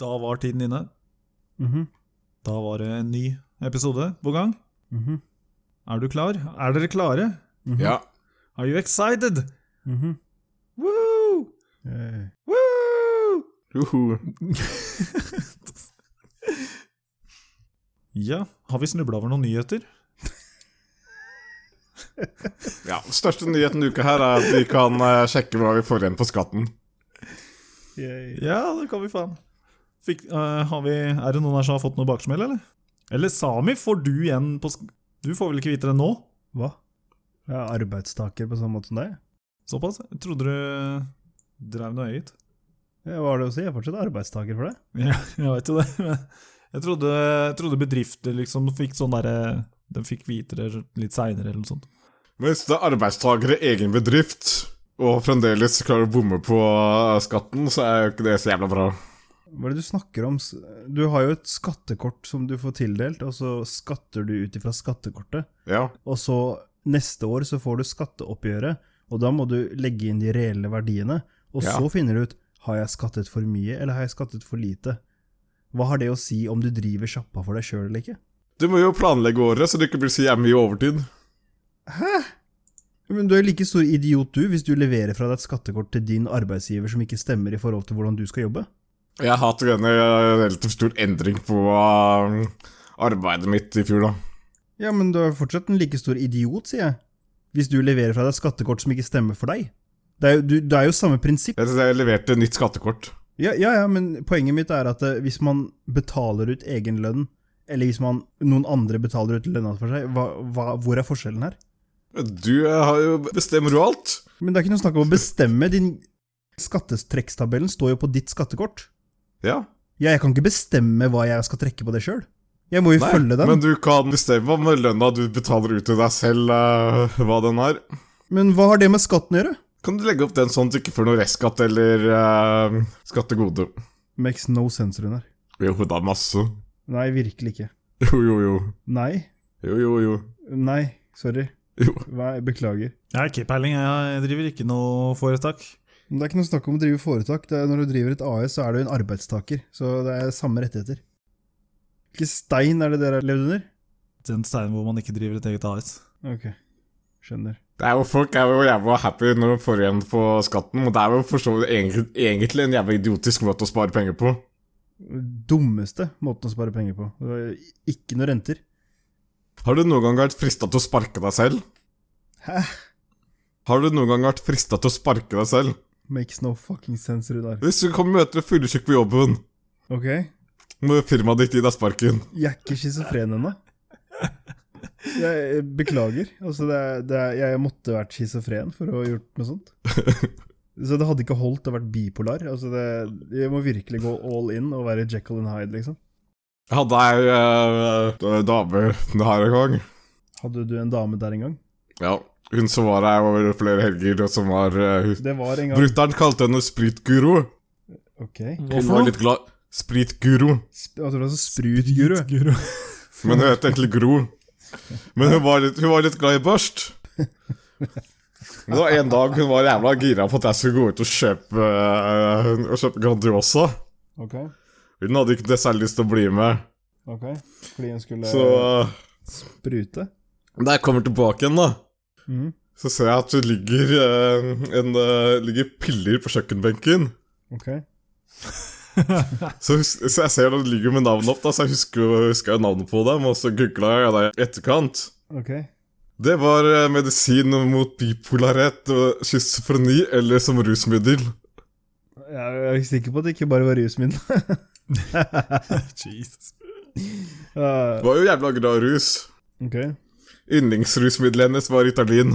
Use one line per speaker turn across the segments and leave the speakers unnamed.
Da var tiden inne.
Mhm,
Da var det en ny episode på gang.
mhm,
Er du klar? Er dere klare?
mhm,
Ja.
Are you excited?
mhm.
Woo!
Eh,
Woo!
Uhu.
Ja, har vi snubla over noen nyheter?
ja. Største nyheten denne uka her er at vi kan eh, sjekke hva vi får igjen på skatten.
yay.
Ja, det kan vi faen. Fikk, eh, har vi, er det noen her som har fått noe baksmell, eller? Eller Sami, får du igjen på sk Du får vel ikke vite det nå?
Hva? Jeg er arbeidstaker på samme måte som deg.
Såpass? Jeg trodde du drev noe eget.
Ja, Hva har det å si? Jeg er fortsatt arbeidstaker for det.
Ja, jeg vet jo det, men jeg trodde, jeg trodde bedrifter liksom fikk sånn derre De fikk vite det litt seinere, eller noe sånt.
Mens det er arbeidstakere i egen bedrift og fremdeles klarer å bomme på eh, skatten, så er jo ikke det så jævla bra.
Hva er det du snakker om? S- Du har jo et skattekort som du får tildelt, og så skatter du ut ifra skattekortet.
Ja.
Og så neste år så får du skatteoppgjøret, og da må du legge inn de reelle verdiene. Og
Ja.
så finner du ut har jeg skattet for mye eller har jeg skattet for lite. Hva har det å si om du driver sjappa for deg sjøl eller ikke?
Du må jo planlegge året, så det ikke blir så jævlig mye overtid.
Men Du er jo like stor idiot du hvis du leverer fra deg et skattekort til din arbeidsgiver som ikke stemmer i forhold til hvordan du skal jobbe.
Jeg har hatt en eh, relativt stor endring på eh, arbeidet mitt i fjor, da.
Ja, men du er fortsatt en like stor idiot, sier jeg. Hvis du leverer fra deg et skattekort som ikke stemmer for deg. Det er jo, du, det er jo samme prinsipp.
Jeg, jeg leverte nytt skattekort.
Ja, ja, ja, men poenget mitt er at eh, hvis man betaler ut egen lønn, eller hvis man, noen andre betaler ut lønna for seg, hva, hva, hvor er forskjellen her?
Du eh, har jo bestemmer jo alt.
Men det er ikke noe snakk om å bestemme. Din skattetrekkstabellen står jo på ditt skattekort.
Ja.
Ja, jeg kan ikke bestemme hva jeg skal trekke på det sjøl. Jeg må jo følge den.
Men
Men,
du kan bestemme om lønna du betaler ut til deg selv, eh, hva den er.
hva har det med skatten å gjøre?
Kan du legge opp den sånn at du ikke får noe restskatt eller uh, skattegode?
Makes no sense, Runar.
Jo, det er masse.
Nei, virkelig ikke.
Jo, jo, jo.
Nei.
Jo, jo, jo.
Nei, sorry.
Jo.
Hva- Beklager.
Jeg har ikke peiling, jeg driver ikke noe foretak.
Men Det er ikke noe snakk om å drive foretak. Det er, når du driver et AS, så er du en arbeidstaker. Så det er samme rettigheter. Hvilken stein er det dere har levd under?
Den steinen hvor man ikke driver et eget AS.
Ok, skjønner.
Det er jo Folk er jo jævla happy når de får igjen på skatten, og det er jo for så vidt egentlig, egentlig en jævla idiotisk måte å spare penger på.
Dummeste måten å spare penger på. Det var Ikke noe renter.
Har du noen gang vært frista til å sparke deg selv?
Hæ?
Har du noen gang vært frista til å sparke deg selv?
Makes no fucking sense, Runar.
Hvis du kan møte en fyllesyk på jobben,
Ok,
må firmaet ditt gi deg sparken.
jeg er ikke schizofren ennå. Jeg eh, beklager. Altså, det er, det er, jeg måtte vært schizofren for å ha gjort noe sånt. Så det hadde ikke holdt å vært bipolar. Altså, det, jeg må virkelig gå all in og være Jekyll and Hyde, liksom.
Jeg hadde ei eh, dame det her en gang.
Hadde du en dame der en gang?
Ja, Hun som var her over flere helger, og som var eh, hun-
Det var en gang.
Brutter'n kalte henne spritguro.
Ok.
Hun var litt glad Spritguro.
Sp jeg tror det var så sprutguru.
Men hun het egentlig Gro. Men hun var litt, hun var litt glad i børst. Men det var en dag hun var jævla gira på at jeg skulle gå ut og kjøpe, eh, og kjøpe Grandiosa.
Ok,
Hun hadde ikke det særlig lyst til å bli med.
ok. Fordi hun skulle
Så eh,
sprute.
da jeg kommer tilbake igjen, da
Mhm.
så ser jeg at det ligger, eh, en, eh, ligger piller på kjøkkenbenken.
Ok.
Så, hus- så jeg ser det ligger med navnet opp, da, så jeg husker, husker jeg navnet på dem. Og så googla jeg det i etterkant.
Ok.
Det var eh, medisin mot bipolarhet og schizofreni eller som rusmiddel.
Jeg er ikke sikker på at det ikke bare var rusmiddel.
Jesus.
Ah,
Det var jo jævla glad i rus.
ok.
Yndlingsrusmiddelet hennes var Ritalin.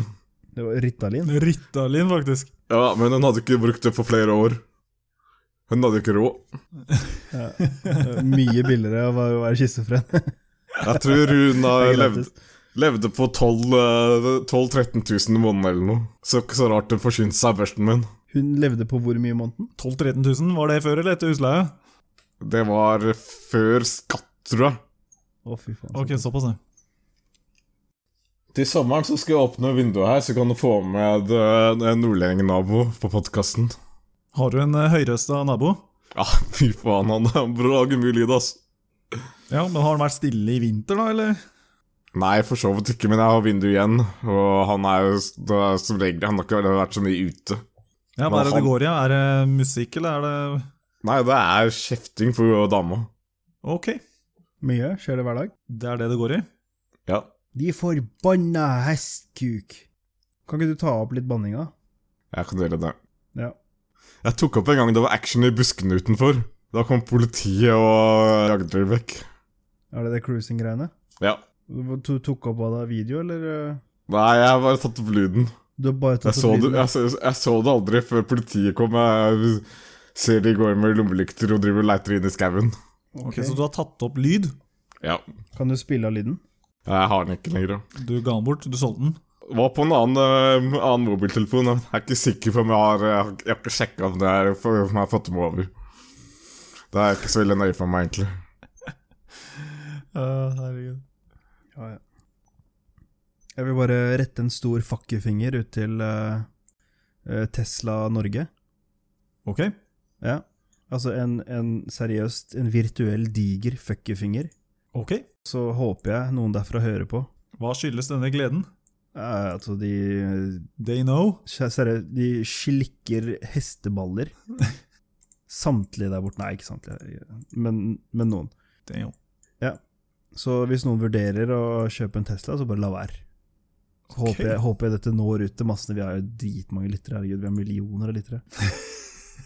Det var Ritalin.
Ritalin, faktisk.
Ja, men hun hadde ikke brukt det på flere år. Hun hadde ikke råd.
Eh, Mye billigere av å være schizofren.
Jeg tror hun har
Det er
levd,
gratis.
levde på 12 eh, 12 000-13 000 i måneden eller noe. Så ikke så rart hun forsynte seg av børsten min.
Hun levde på hvor mye i måneden?
12 000-13 000, var det før eller etter husleie?
Det var før skatt, tror jeg.
Å, fy faen.
Ok, såpass, ja.
Til sommeren så skal jeg åpne vinduet her, så kan du få med eh, en nordlending-nabo på podkasten.
Har du en eh, høyrøsta nabo?
Ja, fy faen, han han lager mye lyd, ass.
Ja, Men har han vært stille i vinter, da? eller?
Nei, for så vidt ikke, men jeg har vinduet igjen. Og han er jo s- det er som regel Han har ikke vært så mye ute.
Ja, Hva
Men
er det det
han-
går i? ja? Er det musikk, eller er det
Nei, det er kjefting for dama.
Ok,
Mye skjer det hver dag.
det er det det går i.
Ja.
De forbanna hestkuk. Kan ikke du ta opp litt banninga?
Jeg kan dele det.
Ja.
Jeg tok opp en gang det var action i buskene utenfor. Da kom politiet og jagde dere vekk.
Er det det cruising-greiene?
Ja.
Du tok opp av deg video, eller? eh,
Nei, jeg har bare tatt opp lyden.
Du har bare tatt
Jeg så,
opp
det,
lyden?
jeg, så, jeg så det aldri før politiet kom. Jeg ser de går med lommelykter og driver og leiter inn i skauen.
Ok,
Ok.
Så du har tatt opp lyd?
Ja.
Kan du spille av lyden?
Jeg har den ikke lenger.
Du ga den bort, du solgte den?
Var på en annen, eh, annen mobiltelefon. Jeg er ikke sikker på om jeg har Jeg har, jeg har ikke sjekka om det er for, om jeg har fått dem over. Det er ikke så veldig nøye for meg, egentlig.
Ja, herregud.
Ja, ja. Jeg vil bare rette en stor fuck you-finger ut til eh, eh, Tesla Norge.
Ok,
Ja. Altså en, en seriøst, en virtuell diger fuck you-finger.
ok.
Så håper jeg noen derfra hører på.
Hva skyldes denne gleden?
Ja, altså, de
They know?
Seriøst, de slikker hesteballer. Samtlige der borte. Nei, ikke samtlige, men, men noen.
Damn.
Så hvis noen vurderer å kjøpe en Tesla, så bare la være. Så
Ok.
håper, jeg, håper jeg dette når ut til massene. Vi har jo dritmange lyttere. Herregud, vi har millioner av lyttere.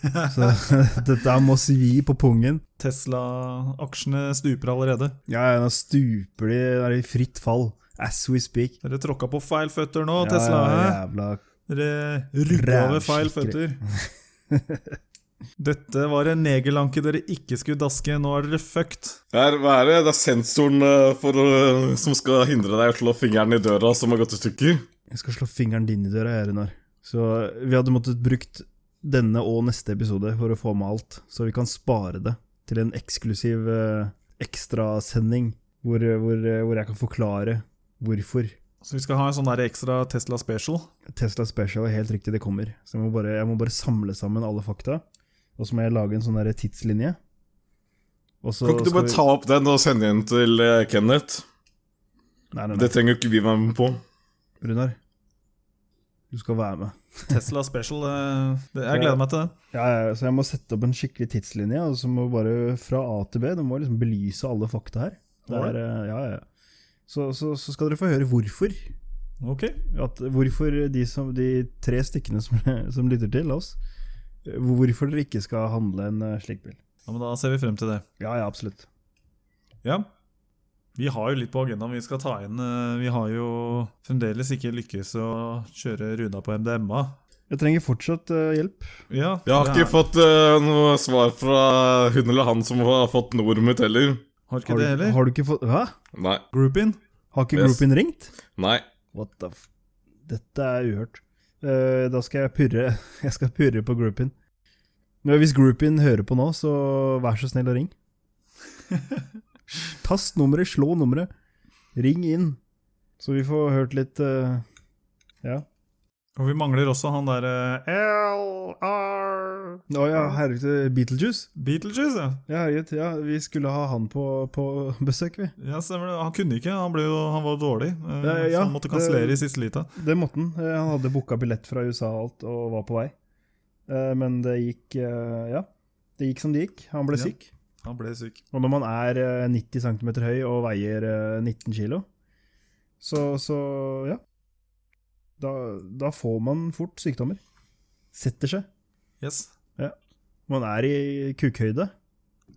Så dette her må svi på pungen.
Tesla-aksjene stuper allerede.
Ja, ja, nå stuper de da er de i fritt fall. As we speak.
Dere tråkka på feil føtter nå,
Ja,
Tesla.
ja,
hæ?
jævla
Dere rugga over feil føtter.
Rævskikkere.
Dette var en negerlanke dere ikke skulle daske. Nå er dere fucked.
Det er, hva er det? Det er sensoren eh, for, å- som skal hindre deg i å slå fingeren i døra, som har gått i stykker.
Jeg skal slå fingeren din i døra, jeg, Runar. Så vi hadde måttet brukt denne og neste episode for å få med alt, så vi kan spare det til en eksklusiv eh, ekstrasending hvor, hvor, eh, hvor jeg kan forklare hvorfor.
Så vi skal ha en sånn der ekstra Tesla special.
Tesla Special er helt riktig, det kommer. Så jeg må bare, jeg må bare samle sammen alle fakta, og så må jeg lage en sånn der tidslinje. Og så
Kan ikke du
skal
bare
vi-
ta opp den og sende den til eh, Kenneth?
Nei, nei, nei.
Det trenger jo ikke vi være med på.
Runar, du skal være med.
Tesla special, eh, det, jeg gleder meg til det.
Ja, ja, så jeg må sette opp en skikkelig tidslinje, og så må bare fra A til B, du må liksom belyse alle fakta her. Det er, eh, ja, ja. Så, så, så skal dere få høre hvorfor.
Ok,
At hvorfor de, som, de tre stykkene som, som lytter til oss, eh, hvorfor dere ikke skal handle en eh, slik bil.
ja, men Da ser vi frem til det.
Ja, ja, absolutt.
Ja. Vi har jo litt på agendaen vi skal ta inn. eh, Vi har jo fremdeles ikke lykkes å kjøre Runa på MDMA.
Jeg trenger fortsatt eh, hjelp.
Ja,
Jeg har
det
ikke
er-
fått eh, noe svar fra hun eller han som har fått nummeret mitt heller.
har ikke
Har
det
du,
heller.
har du ikke fått Hæ?
Nei.
Groupin.
Har ikke
Yes.
groupien ringt?
Nei.
What the f... Dette er uhørt. Eh, da skal jeg purre Jeg skal purre på groupien. Men hvis groupien hører på nå, så vær så snill og ring. Tast nummeret, slå nummeret. Ring inn. Så vi får hørt litt eh, Ja.
Og vi mangler også han eh, derre LR
Å ja, herregud. Beetlejuice?
Beetlejuice, ja.
Ja, herregud. Ja, vi skulle ha han på, på besøk, vi.
ja stemmer det. Han kunne ikke, han, ble jo, han var dårlig. eh,
Ja, ja,
så han måtte
det-
kansellere i siste lita.
Det måtte han. Eh, Han hadde booka billett fra USA og alt, og var på vei. Eh, Men det gikk eh, Ja. Det gikk som det gikk. Han ble
Ja.
syk.
Han ble syk.
Og når man er eh, 90 cm høy og veier eh, 19 kg, så, så ja. Da, da får man fort sykdommer. Setter seg.
Yes.
Man er i kukhøyde.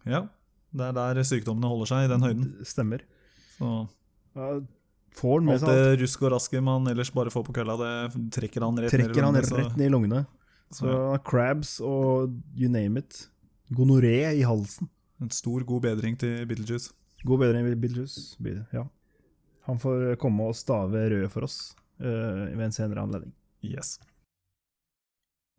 Ja. Det er der sykdommene holder seg, i den høyden.
Det Stemmer.
Så
Da får han med
alt
seg alt.
det rusk og raske man ellers bare får på kølla, det trekker han rett ned i
Trekker han
lungene, så-
rett ned i lungene. Så
så,
han har crabs og you name it. Gonoré i halsen.
En stor, god bedring til Beetlejuice.
God bedre enn Bildjus. Ja. Han får komme og stave rød for oss eh, ved en senere anledning.
Yes.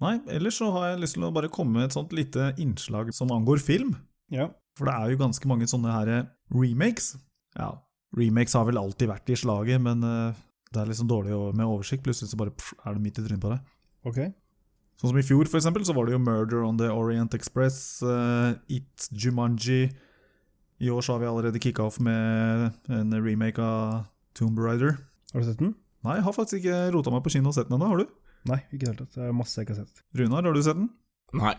Nei, ellers så har jeg lyst til å bare komme med et sånt lite innslag som angår film.
Ja.
For det er jo ganske mange sånne her eh, remakes. Ja, remakes har vel alltid vært i slaget, sånn men eh, det er liksom dårlig å- med oversikt. Plutselig så bare pff, er det midt i trynet på deg.
Ok.
Sånn som i fjor, for eksempel, så var det jo Murder on the Orient Express, eh, It, Jumanji I år så har vi allerede kicka off med en remake av Tomb Rider.
Har du sett den?
Nei, jeg har faktisk ikke rota meg på kino og sett den ennå, har du?
Nei, ikke i det hele tatt. Det er masse jeg ikke har sett.
Runar, har du sett den?
Nei.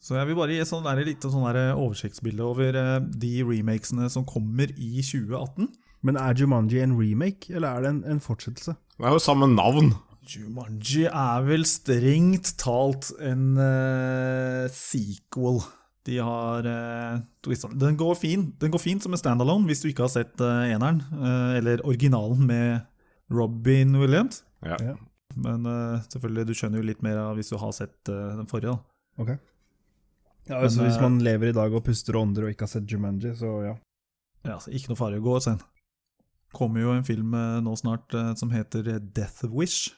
Så jeg vil bare gi et sånn der lite sånn der oversiktsbilde over eh, de remakesene som kommer i 2018.
Men er Jumanji en remake, eller er det en, en fortsettelse?
Det er jo samme navn.
Jumanji er vel strengt talt en eh, sequel. De har uh, Den går fin Den går fint som en standalone hvis du ikke har sett eh, eneren, eh, eller originalen med Robin Williams.
Ja.
Ja.
Men eh, selvfølgelig, du skjønner jo litt mer av hvis du har sett eh, den forrige. da
Ok. Ja, altså
Men,
Hvis
eh, man
man lever i dag og puster og ånder og ikke har sett Jumanji, så ja.
Ja, altså, Ikke noe farlig å gå og se den. Kommer jo en film eh, nå snart eh, som heter Death Wish.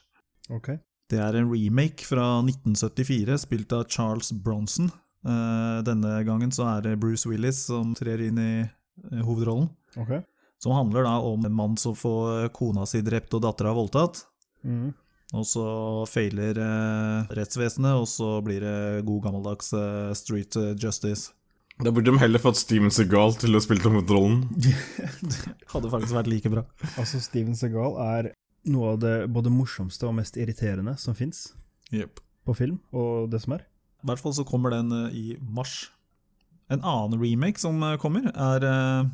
Ok.
Det er en remake fra 1974, spilt av Charles Bronson. Eh, denne gangen så er det Bruce Willis som trer inn i eh, hovedrollen.
Ok.
Som handler da om en mann som får eh, kona si drept og dattera voldtatt.
Mhm.
Og så feiler eh, rettsvesenet, og så blir det god gammeldags eh, street eh, justice.
Da burde de heller fått Steven Segal til å spille hovedrollen.
det hadde faktisk vært like bra.
Altså, Steven Segal er noe av det både morsomste og mest irriterende som fins
Yep.
på film, og det som er.
I hvert fall så kommer den eh, i mars. En annen remake som eh, kommer, er eh,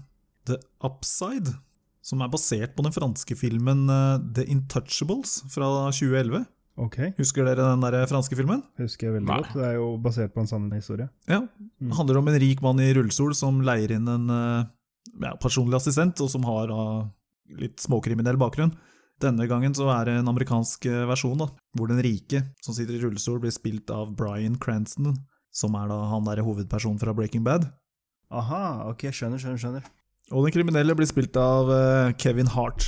The Upside. Som er basert på den franske filmen eh, The Intouchables fra 2011.
Ok,
Husker dere den der eh, franske filmen?
husker jeg veldig
Nei.
godt. Det er jo basert på en sann historie.
Ja.
Mm.
Det handler om en rik mann i rullestol som leier inn en eh, ja, personlig assistent, og som har da litt småkriminell bakgrunn. Denne gangen så er det en amerikansk eh, versjon, da, hvor den rike som sitter i rullestol, blir spilt av Bryan Cranston, som er da han derre hovedpersonen fra Breaking Bad.
Aha, ok, skjønner, skjønner, skjønner.
Og den kriminelle blir spilt av eh, Kevin Hart.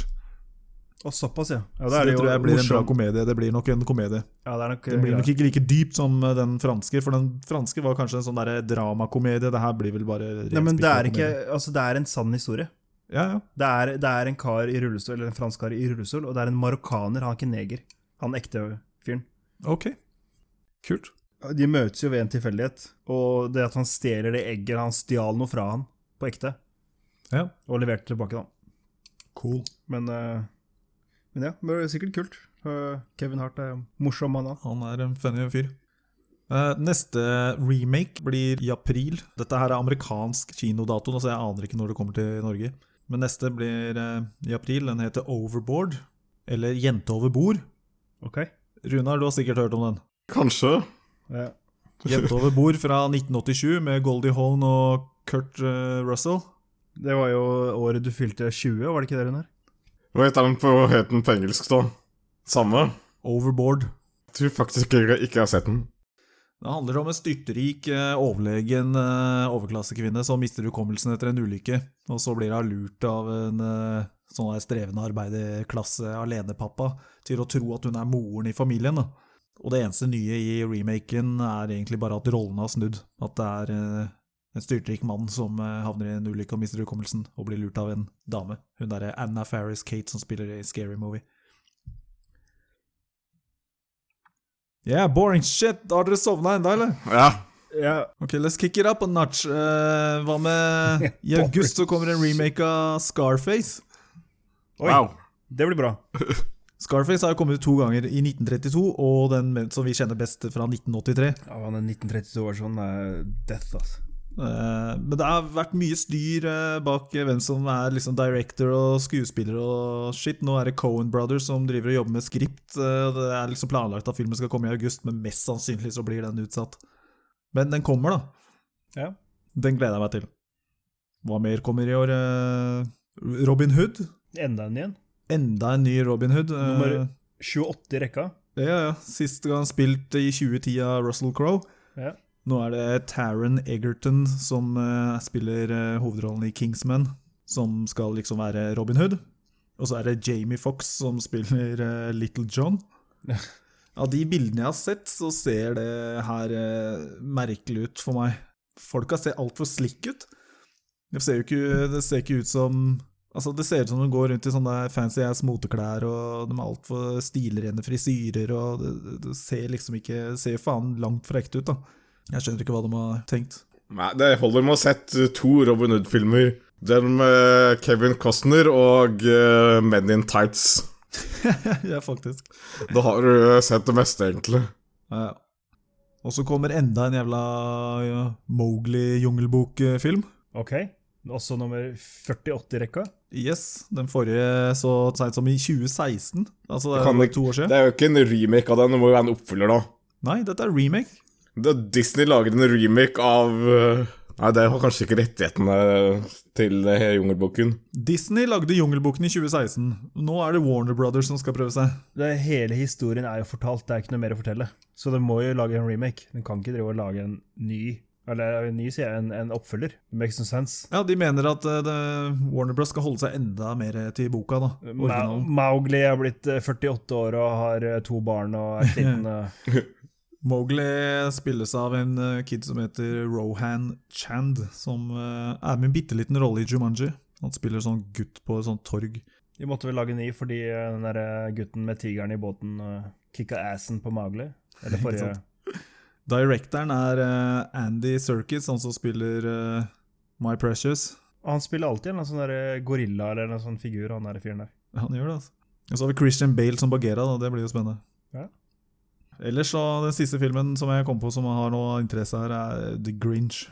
Og såpass, ja. Ja,
Så
da er
det,
det jo
tror jeg blir en bra
morsomt.
komedie. Det blir nok en komedie.
Ja, det er nok,
Den blir nok ikke like dyp som eh, den franske, for den franske var kanskje en sånn derre dramakomedie. Det her blir vel bare ren
Nei, men det er ikke
spikkekomedie.
Altså, det er en sann historie.
Ja, ja.
Det er, det er en kar i rullestol, eller en fransk kar i rullestol, og det er en marokkaner, han er ikke neger. Han er ekte fyren.
Ok. Kult.
De møtes jo ved en tilfeldighet, og det at han stjeler det egget Han stjal noe fra han, på ekte,
Ja.
og leverte det tilbake, da.
Cool.
Men, eh, men ja, men det er sikkert kult. Eh, Kevin Hart er morsom, han da.
Han er en funny fyr. Eh, neste remake blir i april. Dette her er amerikansk kinodato, så jeg aner ikke når det kommer til Norge. Men neste blir eh, i april. Den heter Overboard, eller Jente over bord.
Ok.
Runar, du har sikkert hørt om den.
Kanskje.
Ja.
Jente over bord fra 1987 med Goldie Hawn og Kurt eh, Russell.
Det var jo året du fylte 20, var det ikke det, Runar?
Hva heter den på het den på engelsk, da? Samme.
Overboard.
Jeg tror faktisk ikke jeg ikke har sett den.
Det handler om en styrtrik, eh, overlegen eh, overklassekvinne som mister hukommelsen etter en ulykke. Og så blir hun lurt av en eh, sånn her strevende arbeiderklasse-alenepappa til å tro at hun er moren i familien. Da. Og det eneste nye i remaken er egentlig bare at rollene har snudd. At det er eh, en styrtrik mann som eh, havner i en ulykke og mister hukommelsen, og blir lurt av en dame. Hun derre Anna Faris Kate som spiller i Scary Movie. Yeah, boring shit! Har dere sovna enda, eller?
Ja.
Ja.
Ok, let's kick it up a notch. Eh, hva med I august så kommer en remake av Scarface.
Oi.
Wow.
Det blir bra.
Scarface har jo kommet ut to ganger, i 1932 og den med- som vi kjenner best fra 1983.
Ja, han er 1932-versjonen er sånn, death, altså.
Eh, men det har vært mye styr eh, bak eh, hvem som er liksom director og skuespiller og shit. Nå er det Cohen Brothers som driver og jobber med skript. eh, og det er liksom planlagt at filmen skal komme i august, men mest sannsynlig så blir den utsatt. Men den kommer, da.
Ja.
Den gleder jeg meg til. Hva mer kommer i år? Eh, Robin Hood?
Enda en igjen.
Enda en ny Robin Hood. Eh,
Nummer- 28 i rekka.
ja, ja. Sist gang spilt i 2010 av Russell Crowe.
Ja.
Nå er det Taron Egerton som eh, spiller eh, hovedrollen i Kingsman, som skal liksom være Robin Hood. Og så er det Jamie Fox som spiller eh, Little John. Av de bildene jeg har sett, så ser det her eh, merkelig ut for meg. Folka ser altfor slick ut. Det ser jo ikke, det ser ikke ut som Altså, det ser ut som de går rundt i sånne fancy ass moteklær, og de har altfor stilrene frisyrer, og det, det- det ser liksom ikke Ser faen langt fra ekte ut, da. Jeg skjønner ikke hva de har tenkt.
Nei, det holder med å ha sett eh, to Robin Hood-filmer. Den med Kevin Costner og eh, Men in Tights.
ja, faktisk.
Da har du eh, sett det meste, egentlig.
Ja, ja. Og så kommer enda en jævla ja, Mowgli-jungelbok-film.
Ok. Også nummer 48 i rekka.
Yes, den forrige så seint som i 2016. Altså, det
Kan
er jo
ikke-
to år siden.
Det er jo ikke en remake av den, det må jo være en oppfølger, da.
Nei, dette er remake.
Da Disney laget en remake av eh, Nei, det var kanskje ikke rettighetene til eh, Jungelboken.
Disney lagde Jungelboken i 2016. Nå er det Warner Brothers som skal prøve seg.
Det, hele historien er jo fortalt, det er ikke noe mer å fortelle. Så den må jo lage en remake. Den kan ikke drive og lage en ny Eller en ny, sier jeg, en, en oppfølger. It makes no sense.
Ja, De mener at eh, det- Warner Bros skal holde seg enda mer eh, til boka. da
Ma
Originalen.
Mowgli er blitt eh, 48 år og har eh, to barn og er sliten. eh.
Mowgli spilles av en eh, kid som heter Rohan Chand, som eh, er med i en bitte liten rolle i Jumanji. Han spiller sånn gutt på et sånt torg.
De måtte vel lage en ny fordi eh, den der eh, gutten med tigeren i båten eh, kicka assen på Mowgli. Eller forrige.
sant. Directoren er eh, Andy Serkis, han som spiller eh, My Precious.
Og han spiller alltid en sånn der eh, gorilla eller en sånn figur, han der fyren der.
Han gjør det, altså. Og så har vi Christian Bale som Bagheera, da. Det blir jo spennende.
Ja.
Ellers så, den siste filmen som jeg kom på som har noe interesse her, er The Grinch.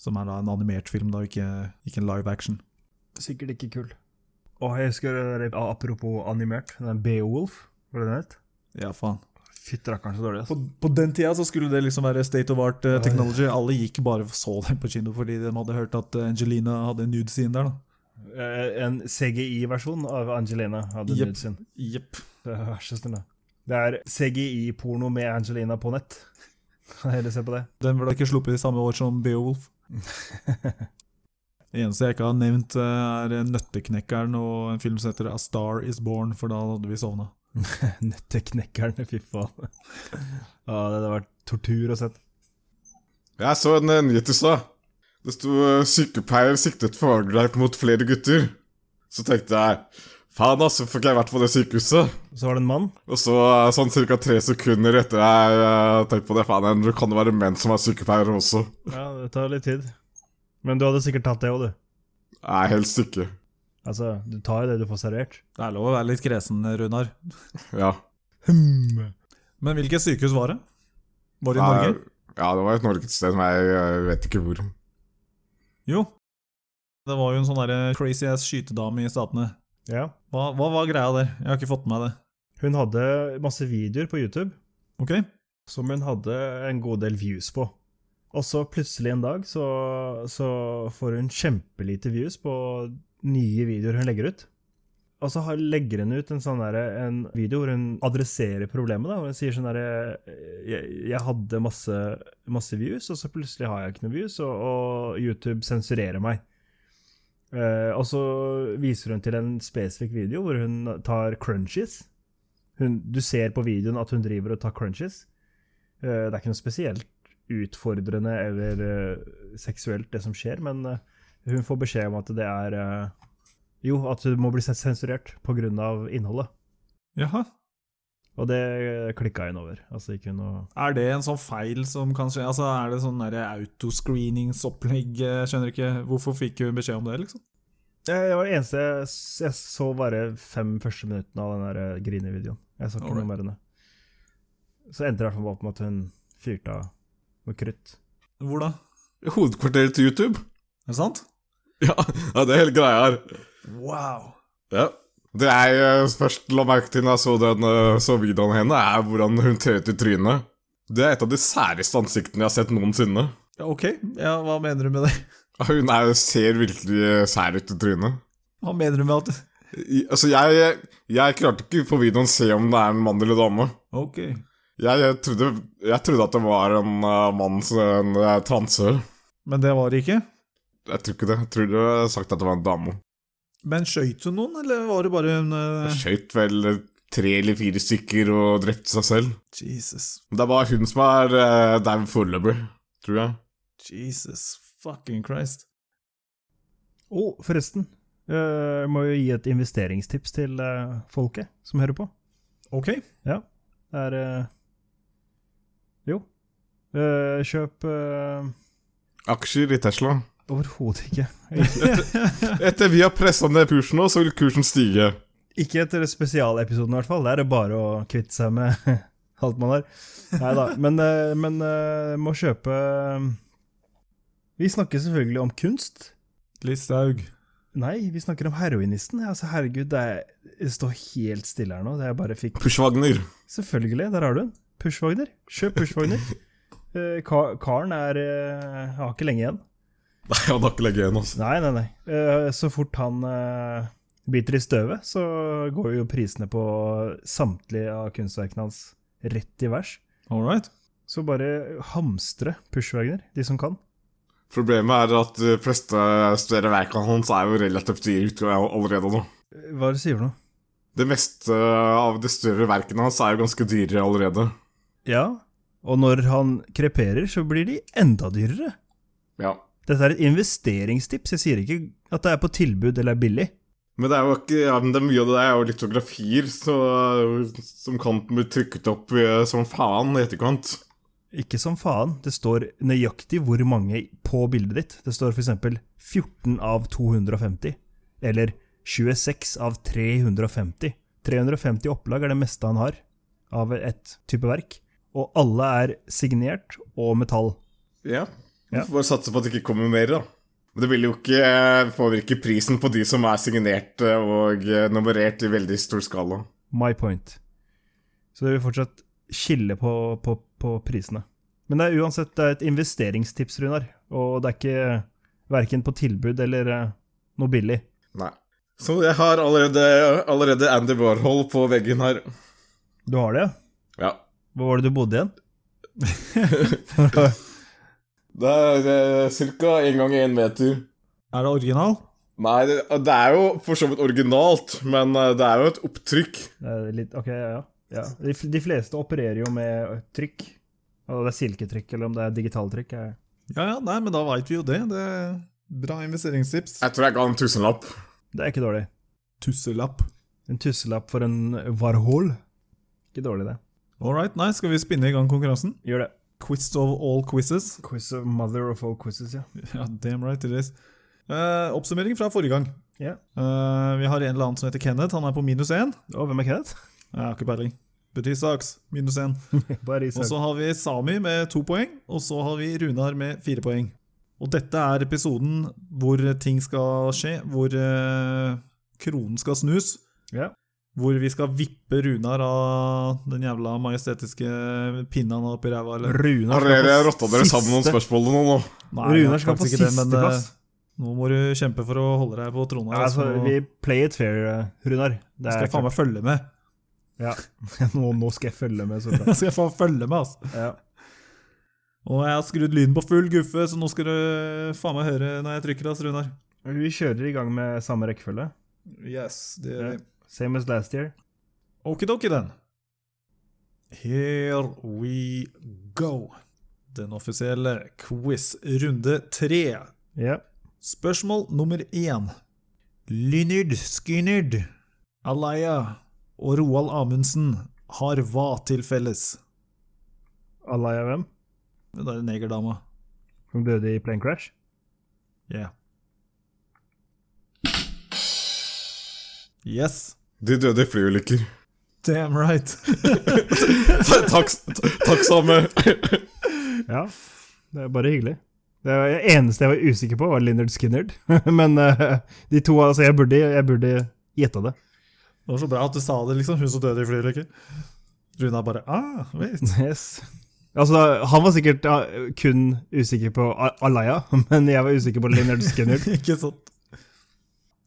Som er da en animert film, da, ikke, ikke en live action.
Sikkert ikke kul. Og jeg husker det der, apropos animert, den Beowulf, var det den het?
Ja, faen.
Fytti rakkeren så dårlig, altså.
På, på den tida så skulle det liksom være state of art eh, technology. Alle gikk bare og så den på kino fordi de hadde hørt at eh, Angelina hadde en nude scene der, da.
Eh, En CGI-versjon av Angelina hadde
Jep.
nudes sin.
Jepp.
Vær så snill. da. Det er CGI-porno med Angelina på nett. Kan jeg heller se på det.
Den ble ikke sluppet i samme år som Beowulf. Det eneste jeg ikke har nevnt, eh, er Nøtteknekkeren og en film som heter A Star Is Born, for da hadde vi sovna.
Nøtteknekkerne, fy faen. Ja, det hadde vært tortur å sett.
Jeg så en eh, nyhet i stad. Det sto eh, 'sykepleier siktet for overgrep mot flere gutter'. Så tenkte jeg faen, altså, får ikke jeg vært på det sykehuset?
Så var det en mann.
Og så eh, sånn ca. tre sekunder etter jeg eh, tenkte på det, faen, det kan jo være menn som er sykepleiere også.
Ja, det tar litt tid. Men du hadde sikkert tatt det òg, du.
Nei, helst ikke.
Altså, du tar jo det du får servert.
Det er lov å være litt kresen, Runar.
Ja.
Hm.
Men hvilket sykehus var det? Var det i Norge?
Ja, det var et norgessted, men jeg eh, vet ikke hvor.
Jo. Det var jo en sånn derre crazy ass skytedame i Statene.
Ja.
Hva, hva var greia der? Jeg har ikke fått med meg det.
Hun hadde masse videoer på YouTube
Ok?
som hun hadde en god del views på. Og så plutselig en dag så, så får hun kjempelite views på nye videoer hun legger ut. Og så har, legger hun ut en, sånn derre- en video hvor hun adresserer problemet. da, hvor Hun sier sånn derre jeg, 'Jeg hadde masse, masse views, og så plutselig har jeg ikke noe views, og, og YouTube sensurerer meg'. Eh, og så viser hun til en spesifikk video hvor hun tar crunches. Hun, du ser på videoen at hun driver og tar crunches. Eh, Det er ikke noe spesielt utfordrende eller eh, seksuelt det som skjer, men eh, hun får beskjed om at det er eh, Jo, at hun må bli sens- sensurert pga. innholdet.
Jaha.
Og det klikka hun over. Altså ikke noe
Er det en sånn feil som kan skje? Altså, er det sånn derre autoscreeningsopplegg? Jeg Skjønner ikke. Hvorfor fikk hun beskjed om det, liksom?
Det var det eneste jeg, s- jeg så bare fem første minuttene av den der grinevideoen. Jeg så ikke
Alright.
noe mer enn det. Så endte det i hvert fall opp med at hun fyrte av noe krutt.
Hvor da?
Hovedkvarteret til YouTube?
Er det sant?
Ja, ja det er hele greia her.
Wow.
Ja. Det jeg eh, først la merke til når jeg så, den, eh, så videoen henne, er hvordan hun trer ut i trynet. Det er et av de særeste ansiktene jeg har sett noensinne.
Ja, ok. Ja, hva mener du med det?
Ja, Hun er, ser virkelig eh, sær ut i trynet.
Hva mener du med at
I, altså, jeg, jeg klarte ikke på videoen å se om det er en mann eller dame.
Ok.
Jeg, jeg, trodde, jeg trodde at det var en eh, mann, som- en uh, transør.
Men det var det ikke?
Jeg tror ikke det. Jeg tror du har sagt at det var en dame.
Men skøyt hun noen, eller var det bare en
Hun
eh,
skjøt vel eh, tre eller fire stykker og drepte seg selv.
Jesus.
Det er bare hun som er uh, dau foreløpig, tror jeg.
Jesus fucking Christ.
Å, forresten. Eh, Jeg må jo gi et investeringstips til eh, folket som hører på.
Ok.
Ja, det er eh, Jo. Eh, kjøp eh,
Aksjer i Tesla.
Overhodet ikke.
Etter vi har pressa ned kursen nå, så vil kursen stige.
Ikke etter spesialepisoden, i hvert fall. Der er det bare å kvitte seg med alt man har. Nei da. Men, eh, men eh, må kjøpe eh, Vi snakker selvfølgelig om kunst.
Listhaug.
Nei, vi snakker om heroinisten. Altså, herregud, det er, det står helt stille her nå. Det jeg bare fikk
Pushwagner.
Selvfølgelig, der har du den. Pushwagner. Kjøp Pushwagner. Eh, ka- Karen er eh, har ikke lenge igjen.
Nei, han har ikke lenge igjen, altså.
Nei, nei, nei. Eh, så fort han eh, biter i støvet, så går jo prisene på samtlige av kunstverkene hans rett i vers.
All right.
Så bare hamstre Pushwagner, de som kan.
Problemet er at de fleste større verkene hans er jo relativt dyre ut allerede nå.
Eh, Hva er det du sier for noe?
Det meste eh, av de større verkene hans er jo ganske dyre allerede.
Ja, og når han kreperer, så blir de enda dyrere.
Ja.
Dette er et investeringstips, jeg sier ikke at det er på tilbud eller er billig.
Men det er jo ikke, ja, men det er mye av det der er jo litografier så, eh, som kan bli trykket opp eh, som faen i etterkant.
Ikke som faen. Det står nøyaktig hvor mange på bildet ditt. Det står f.eks. 14 av 250. Eller 26 av 350. 350 opplag er det meste han har av et type verk. Og alle er signert og metall.
Ja.
Ja.
Vi får bare satse på at det ikke kommer mer, da. Men det vil jo ikke eh, påvirke prisen på de som er signert eh, og eh, nummerert i veldig stor skala.
My point. Så det vil fortsatt skille på, på, på prisene. Men det er uansett det er et investeringstips, Runar. Og det er ikke verken på tilbud eller eh, noe billig.
Nei. Så jeg har allerede, allerede Andy Warhol på veggen her.
Du har det, ja?
Ja.
Hvor var det du bodde igjen?
Det er eh, ca. én gang én meter.
Er det original?
Nei, det, eh, det er jo for så vidt originalt, men eh, det er jo et opptrykk.
Det er litt, ok, ja, ja. ja. De, f- de fleste opererer jo med trykk. Om det er silketrykk eller om det er digitaltrykk. er-
Ja ja, nei, men da veit vi jo det. Det er Bra investeringstips.
Jeg tror jeg ga en tusenlapp.
Det er ikke dårlig.
Tusselapp.
En tusselapp for en varhol. Ikke dårlig, det.
All right, nei, skal vi spinne i gang konkurransen?
Gjør det.
Quiz of all quizzes.
Quiz of mother of all quizzes, ja.
Ja, damn right it is. Eh, oppsummering fra forrige gang.
Ja.
Eh, vi har en eller annen som heter Kenneth. Han er på minus én.
Og hvem er Kenneth?
Jeg har ikke peiling. Betyr saks. Minus én.
Bare
Og
Isak.
så har vi Sami med to poeng, og så har vi Runar med fire poeng. Og dette er episoden hvor ting skal skje, hvor eh, kronen skal snus.
Ja.
Hvor vi skal vippe Runar av den jævla majestetiske pinna han har oppi ræva. eller-
Runar
Har
skal
dere
på
rotta dere sammen om
siste-
spørsmålene nå? nå?
Nei,
Runar
det er
skal på
faktisk ikke det, men, eh,
sisteplass.
Nå må du kjempe for å holde deg på trona.
Nei, altså,
altså,
vi play it fair, eh, Runar. Det
skal
er
jeg faen meg følge med.
Ja. Nå, nå skal jeg følge med. Så bra.
skal jeg faen følge med, altså.
Ja.
Og jeg har skrudd lyden på full guffe, så nå skal du faen meg høre når jeg trykker, ass, Runar.
Vi kjører i gang med samme rekkefølge.
Yes, det
gjør vi. Same as last year.
Okidoki, then. Here we go. Den offisielle quiz runde tre.
Ja.
Spørsmål nummer én. Lynyrd Skynyrd, Alaya og Roald Amundsen har hva til felles?
Alaya hvem?
Det der negerdama.
Som døde i plane crash?
Yeah. Yes.
De døde i flyulykker.
Damn right.
Ta- takk, ta- takk samme.
Ja, det er bare hyggelig. Det var- det eneste jeg var usikker på, var Linnard Skinnard. Men eh, de to, altså, jeg burde, jeg burde gjetta det.
Det var så bra at du sa det, liksom. Hun som døde i flyulykke. Runa bare ah, wait.
Yes. Altså, han var sikkert ja, kun usikker på A- Alaya, men jeg var usikker på Linnard Skinnard.
Ikke sant?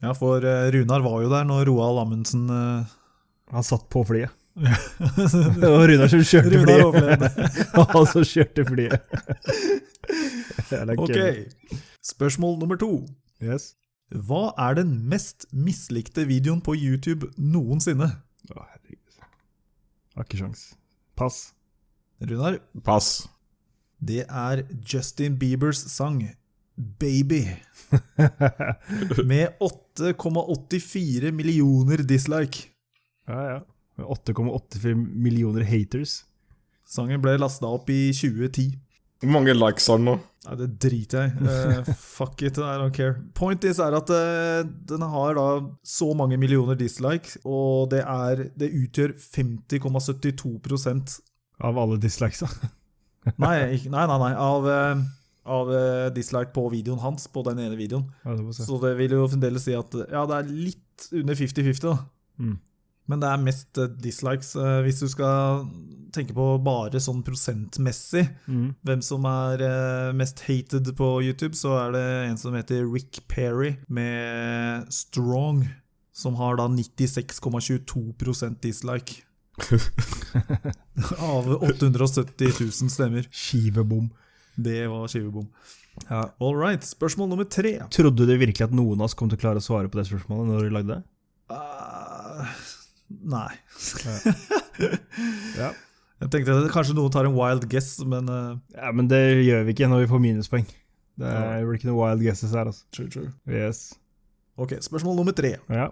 Ja, for eh, Runar var jo der når Roald Amundsen eh,
Han satt på flyet. Det var Runar som kjørte
Runar
flyet.
overlevde.
Og han som kjørte flyet. Jævla
Ok.
kødd.
Spørsmål nummer to.
Yes.
Hva er den mest mislikte videoen på YouTube noensinne?
Å, herregud. Har ikke sjans. Pass.
Runar,
Pass.
det er Justin Biebers sang Baby. Med 8,84 millioner dislike.
Ja, ja. Med 8,85 millioner haters.
Sangen ble lasta opp i 2010.
Hvor mange likes har den nå?
Nei, det driter jeg i. Eh, fuck it, I don't care. Point is er at eh, den har da så mange millioner dislikes, og det, er, det utgjør 50,72
Av alle dislikesa.
nei, ikke, nei, nei, nei, av, eh, av eh, dislike på videoen hans, på den ene videoen.
Ja, det må jeg si.
Så det vil jo fremdeles si at ja, det er litt under 50-50, da.
Mm.
Men det er mest eh, dislikes, eh, hvis du skal tenke på bare sånn prosentmessig.
Mm.
Hvem som er eh, mest hated på YouTube, så er det en som heter Rick Perry med Strong, som har da 96,22 dislike. Av 870 000 stemmer.
Skivebom.
Det var skivebom. All right, spørsmål nummer tre.
Trodde du virkelig at noen av oss kom til å klare å svare på det spørsmålet når du lagde det?
Eh, nei.
Ja.
Jeg tenkte at kanskje noen tar en wild guess, men eh,
ja, men det gjør vi ikke når vi får minuspoeng. Det er- det blir ikke noe wild guesses her, altså.
True, true.
Yes.
Ok, spørsmål nummer tre.
Ja.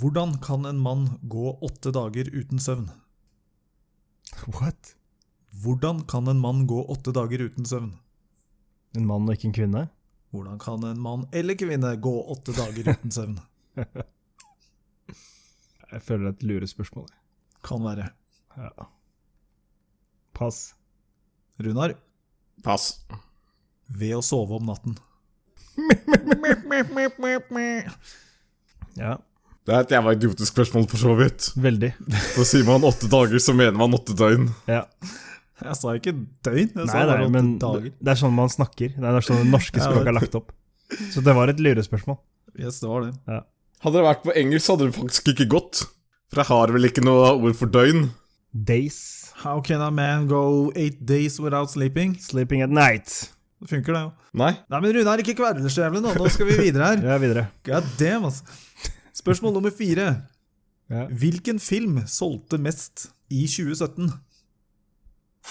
Hvordan kan en mann gå åtte dager uten søvn?
What?
Hvordan kan en mann gå åtte dager uten søvn?
En mann og ikke en kvinne?
Hvordan kan en mann eller kvinne gå åtte dager uten søvn?
Jeg føler det er et lurespørsmål.
Kan være.
Ja. Pass.
Runar,
Pass.
ved å sove om natten.
Ja,
Det er et jævla idiotisk spørsmål, for så vidt.
veldig.
Nå sier man åtte dager, så mener man åtte døgn.
Ja.
Jeg sa ikke døgn, jeg sa
Nei,
bare
nei,
åtte
men
dager.
det det er sånn man snakker. Det er sånn det norske
Ja,
språket er lagt opp. Så det var et lurespørsmål.
Yes, det var det.
Hadde det vært på engelsk, så hadde det faktisk ikke gått. For jeg har vel ikke noe ord for døgn.
Days.
How can a man go eight days without sleeping?
Sleeping at night.
Det funker, det jo.
Nei.
Nei, men Runar, ikke kverles jævlig nå. Nå skal vi videre her.
Ja, videre.
God damn, altså. Spørsmål nummer fire.
Ja.
Hvilken film solgte mest i 2017?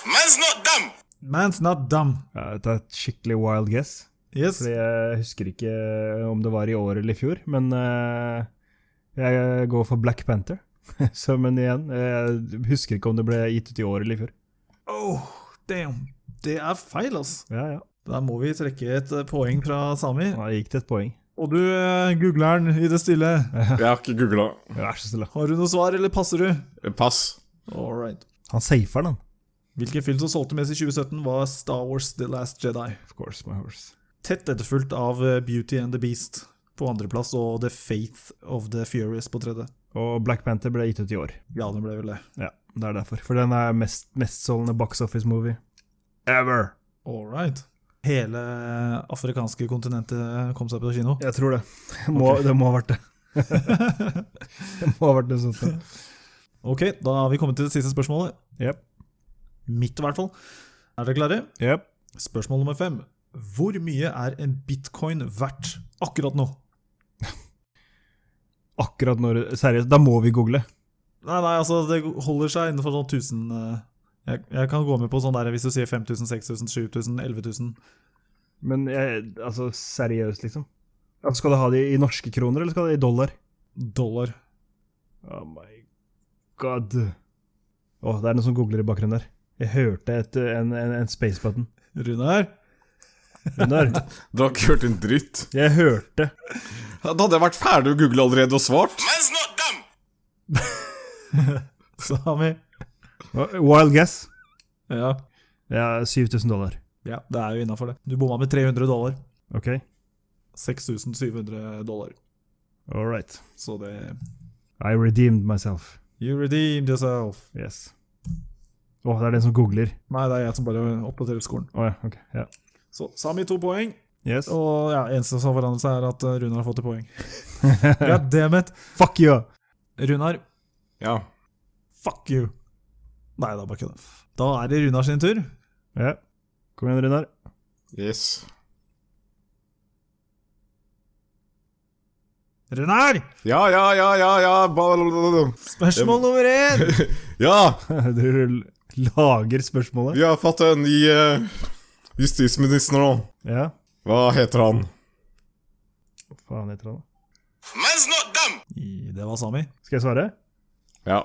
Man's not dumb.
Man's Not Dumb.
Ja, dette er et skikkelig wild guess.
Yes.
Fordi jeg husker ikke eh, om det var i år eller i fjor, men eh, jeg går for Black Panther. Så, men igjen, jeg husker ikke om det ble gitt ut i år eller i fjor.
Oh, damn. Det er feil, altså.
Ja, ja.
Da må vi trekke et eh, poeng fra Sami.
Da gikk det et poeng.
Og du eh, googler den i det stille.
Jeg har ikke googla.
Vær så snill.
Har du noe svar, eller passer du?
Pass.
All right.
Han safer den.
Hvilken film som solgte mest i 2017, var Star Wars The Last Jedi.
Of course, my horse.
Tett etterfulgt av eh, Beauty and the Beast på andreplass og The Faith of the Furious på tredje.
Og Black Panther ble gitt ut i år.
Ja, den ble vel det.
Ja, det er derfor. For den er mest mestselgende box office-movie ever.
All right. Hele afrikanske kontinentet eh, kom seg på kino.
Jeg tror det. Må, Det må ha vært det. det må ha vært det sånn sånt. da.
Ok, da har vi kommet til det siste spørsmålet.
Jep.
Mitt, i hvert fall. Er dere klare?
Jep.
Spørsmål nummer fem. Hvor mye er en bitcoin verdt akkurat nå?
Akkurat når Seriøst, da må vi google.
Nei, nei, altså, det holder seg innenfor sånn 1000 eh, jeg, jeg kan gå med på sånn der hvis du sier 5000, 6000, 7000, 11000.
Men jeg, altså, seriøst, liksom. Altså, skal du ha det i norske kroner, eller skal du ha det i dollar?
dollar.
Oh my god. Å, det er noen som googler i bakgrunnen der. Jeg hørte et, en, en, en space button.
Runar?
Runar,
Du har ikke hørt en dritt.
jeg hørte
Da hadde jeg vært ferdig å google allerede og svart.
Man's not dumb.
Sami?
Wild guess.
Ja.
Ja, 7000 dollar.
ja, det er jo innafor det. Du bomma med 300 dollar.
Ok,
6700 dollar.
all right.
Så det
I redeemed myself.
You redeemed yourself.
Yes. Å, det er den som googler.
Nei, det er jeg som bare oppdaterer skolen.
Å ja, ok. Ja.
Så Sami to poeng,
Yes.
og ja, eneste som har forandret seg, er at eh, Runar har fått et poeng. God damn it!
Fuck you!
Runar,
Ja.
fuck you! Nei, det er bare kødda. Da er det Runar sin tur.
Ja. Kom igjen, Runar.
Yes.
Runar!
Ja, ja, ja, ja, ja. Ba-
Spørsmål nummer én!
Ja!
du lager spørsmålet.
Vi har fått en ny eh, justisminister nå.
Ja.
Hva heter han?
Hva faen heter han da?
Man's not dumb.
I- Det var Sami.
Skal jeg svare?
Ja.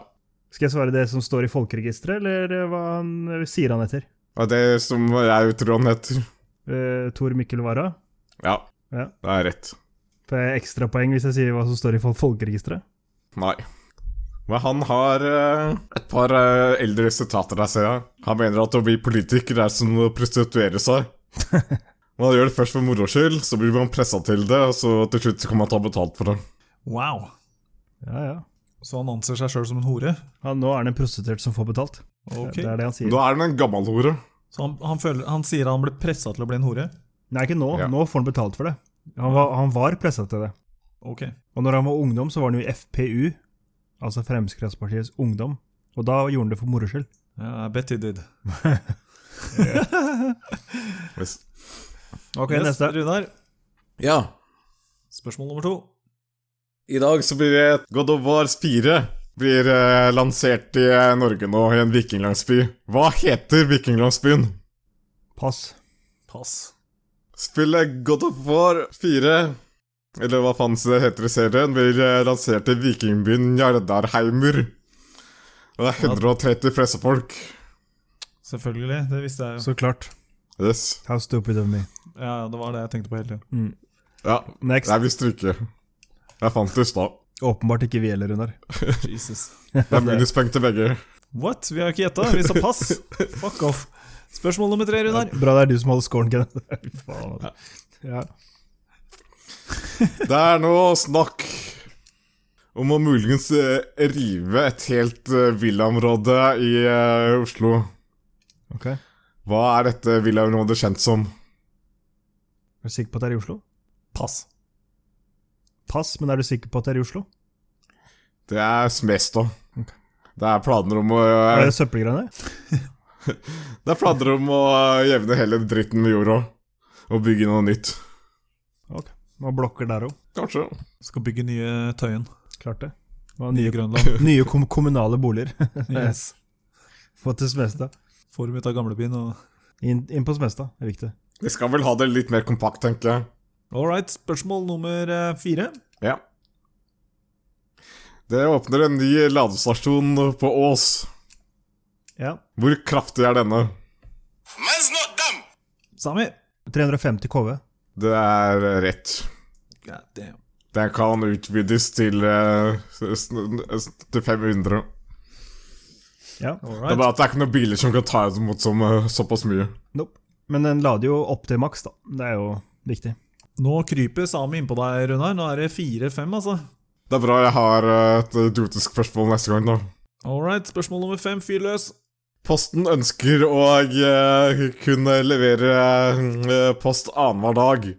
Skal jeg svare det som står i folkeregisteret, eller eh, hva han sier han heter?
Og det som jeg tror han heter.
Eh, Tor Mikkel Wara?
Ja.
Ja.
Det er rett.
Får jeg ekstrapoeng hvis jeg sier hva som står i fol- folkeregisteret?
Nei. Men han har eh, et par eh, eldre sitater der, ser jeg. Han mener at å bli politiker er som å prostituere seg. Man gjør det først for moro skyld, så blir man pressa til det, og så til slutt så kan man ta betalt for det.
Wow.
Ja, ja.
Så han anser seg sjøl som en hore?
Han, nå er han en prostituert som får betalt.
Ok.
Det er det han sier.
Da er han en gammel hore.
Så han, han, føler, han sier han ble pressa til å bli en hore?
Nei, ikke nå.
Ja.
Nå får han betalt for det. Han var, han var pressa til det.
Ok.
Og når han var ungdom, så var han jo i FPU, altså Fremskrittspartiets ungdom. Og da gjorde han det for moro skyld.
Ja, I bet he did.
Hvis.
Ok,
Yes,
neste. Runar,
Ja.
spørsmål nummer to.
I dag så blir det God of War 4 blir eh, lansert i eh, Norge nå, i en vikinglandsby. Hva heter vikinglandsbyen?
Pass.
Pass.
Spillet God of War 4, eller hva faen det heter i serien, blir eh, lansert i vikingbyen Jardarheimer. Og det er 130 pressefolk.
Selvfølgelig, det visste jeg jo.
Så klart.
Yes.
How stupid of me.
Ja, ja, det var det jeg tenkte på hele tiden.
Ja,
Next.
jeg visste det ikke. Jeg fant det i stad.
Åpenbart ikke vi heller, Runar.
Jesus.
Det er minuspoeng til begge.
What? Vi har jo ikke gjetta, vi sa pass! Fuck off. Spørsmål nummer tre, Runar.
Bra det er du som holder scoren, Kenneth. Fy faen, altså. Ja.
Det er nå snakk om å muligens eh, rive et helt eh, villaområde i eh, Oslo.
Ok. Er
Hva er dette villaområdet kjent som?
du sikker på at det er i Oslo?
Pass.
Pass, men er du sikker på at det er i Oslo?
Det er Smestad. Det er planer om å eh,
Er det søppelgreiene?
Det er planer om å eh, jevne hele dritten med jorda. Og bygge noe nytt.
Ok. Man blokker der òg.
Kanskje.
Skal bygge nye Tøyen.
Klart det.
Nye Grønland.
Nye kom kommunale boliger.
Yes.
Få til Smestad.
Forum ut av gamlebyen og
Inn, inn på Smestad er viktig.
Vi skal vel ha det litt mer kompakt, tenker jeg.
All right, spørsmål nummer eh, fire.
Ja. Det åpner en ny ladestasjon på Ås.
Ja.
Hvor kraftig er denne?
Man's not dumb.
Sami.
350 KV.
Det er eh, rett.
God damn.
Den kan utvides til, eh, s- s- til 500.
Ja.
All
Det er
right.
bare at det er ikke noen biler som kan ta imot som, eh, såpass mye.
Nope. Men den lader jo opp til maks, da. Det er jo viktig.
Nå kryper Sami innpå deg, Runar. Nå er det fire-fem, altså.
Det er bra jeg har eh, et idiotisk spørsmål neste gang, da.
All right, spørsmål nummer fem. Fyr løs.
Posten ønsker å eh, kunne levere eh, post annenhver dag.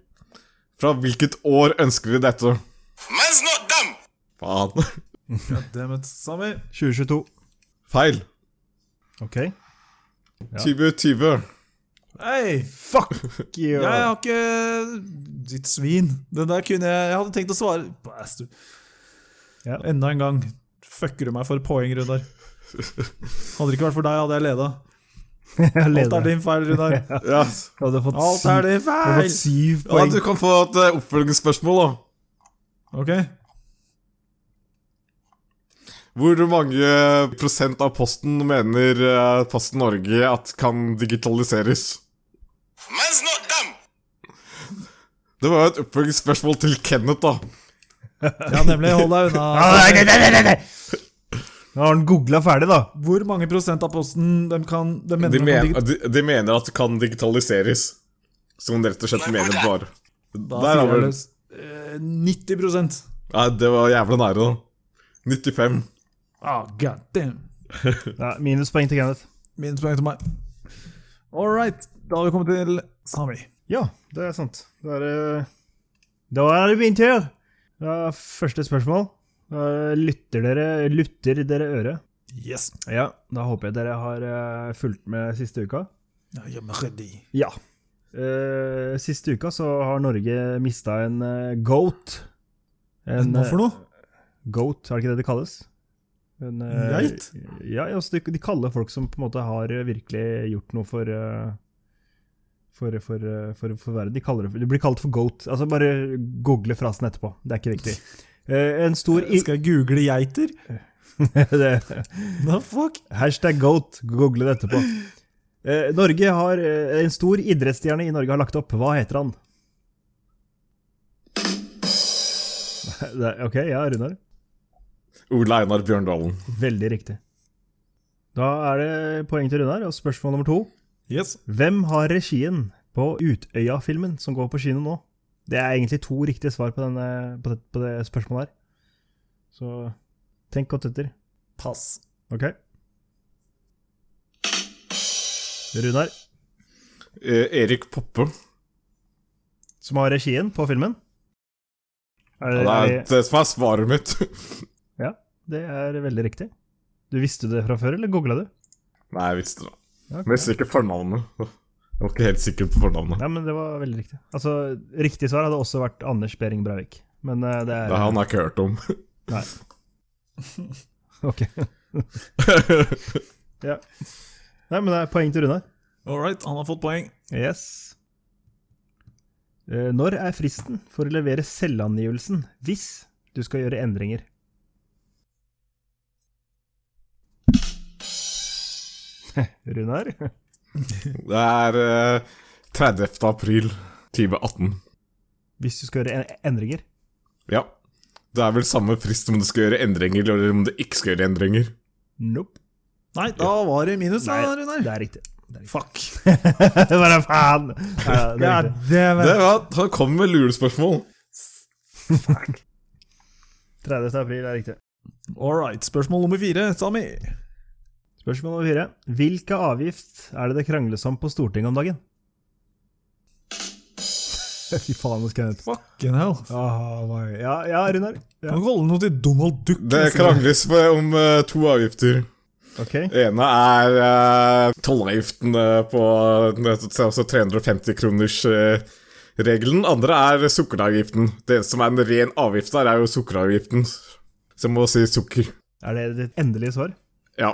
Fra hvilket år ønsker de dette?
Man's not dumb.
Faen.
God damn it, Sami.
2022.
Feil.
Ok. Ja.
2020.
Hei!
Fuck you!
Jeg har ikke Ditt svin. Den der kunne jeg Jeg hadde tenkt å svare Bastard.
Ja.
Enda en gang fucker du meg for poeng, Runar. Hadde det ikke vært for deg, hadde jeg leda.
Jeg
Alt
leder.
er din feil, Runar.
Ja.
Jeg hadde fått
Alt
syv-
er din
jeg hadde fått
feil!
syv
ja,
poeng.
du kan få et eh, oppfølgingsspørsmål, da.
Ok,
Hvor mange prosent av posten mener eh, Posten Norge at kan digitaliseres?
Man's not dumb.
Det var jo et oppfølgingsspørsmål til Kenneth, da.
ja nemlig. Hold deg
Ah, nei,
unna.
nei, nei, nei, nei. Nå har han googla ferdig, da.
Hvor mange prosent av posten de kan De mener
De,
de kan
men,
digit-
de, de mener at det kan digitaliseres. Som de rett og slett mener bare.
Da sier
Der har
jeg
vi den.
løs. Eh, 90 prosent.
Nei, det var jævla nære, da. 95.
Ah, god damn.
Ja, Minuspoeng til Kenneth.
Minuspoeng til meg. All right, da har vi kommet til Sami.
Ja, det er sant. Det er, eh, da er det min tur! Da er Første spørsmål. Da Lytter dere, lytter dere øret?
Yes.
Ja, da håper jeg dere har eh, fulgt med siste uka.
I am ready.
Ja. Eh, siste uka så har Norge mista en eh, goat. En,
Hva for noe?
eh, Goat, er det ikke det det kalles? En, eh,
Geit?
Ja, altså, de, de kaller folk som på en måte har eh, virkelig gjort noe for eh, for, for, eh, for, for verden. De, kaller det, for- det blir kalt for goat. Altså Bare google frasen etterpå. Det er ikke viktig. Eh, en stor i...
Skal jeg google geiter?
det,
The fuck?
Hashtag goat. Google det etterpå. Eh, Norge har eh, En stor idrettsstjerne i Norge har lagt opp. Hva heter han? Det er- Ok, ja, Runar.
Ole Einar Bjørndalen.
Veldig riktig. Da er det poeng til Runar. Og spørsmål nummer to.
Yes.
Hvem har regien på Utøya-filmen som går på kino nå? Det er egentlig to riktige svar på, denne, på, det, på det spørsmålet her. Så tenk godt etter.
Pass.
Ok? Runar.
Eh, Erik Poppe.
som har regien på filmen. Er,
Det
er,
er det som er svaret mitt.
ja, det er veldig riktig. Du visste det fra før, eller googla du?
Nei, jeg visste det.
Ja, ok.
Men jeg visste ikke fornavnet. Jeg var ikke helt sikker på fornavnet.
Ja, men det var veldig riktig. Altså, Riktig svar hadde også vært Anders Behring Breivik. Men eh, det er
Det har han ikke hørt om.
Nei. Ok. ja. Nei, men det er poeng til Runar.
All right, han har fått poeng.
Yes. Eh, Når er fristen for å levere selvangivelsen hvis du skal gjøre endringer? Runar?
Det er eh, 30. april 2018.
Hvis du skal gjøre en- endringer?
Ja. Det er vel samme frist om du skal gjøre endringer, eller om du ikke skal gjøre endringer.
Nope.
Nei, da var det minus, da, Runar.
det er riktig.
Fuck.
Bare faen! Ja, det er
God
riktig.
damn
Det
it.
var, han kom med lurespørsmål.
30. april er riktig.
All right, spørsmål nummer fire, Sami.
Spørsmål nummer fire. Hvilke avgift er det det krangles om på Stortinget om dagen? Fy faen, nå skal jeg
Fucking hell.
Ah, my- ja, ja, Runar.
Du
Ja.
kan ikke holde noe til Donald Duck.
Det
liksom.
krangles med om eh, to avgifter.
Ok.
ene er eh, tollavgiften eh, på eh, altså 350-kronersregelen. eh, andre er sukkeravgiften. Det eneste som er en ren avgift der, er jo sukkeravgiften. Så jeg må si sukker.
Er det ditt endelige svar?
Ja.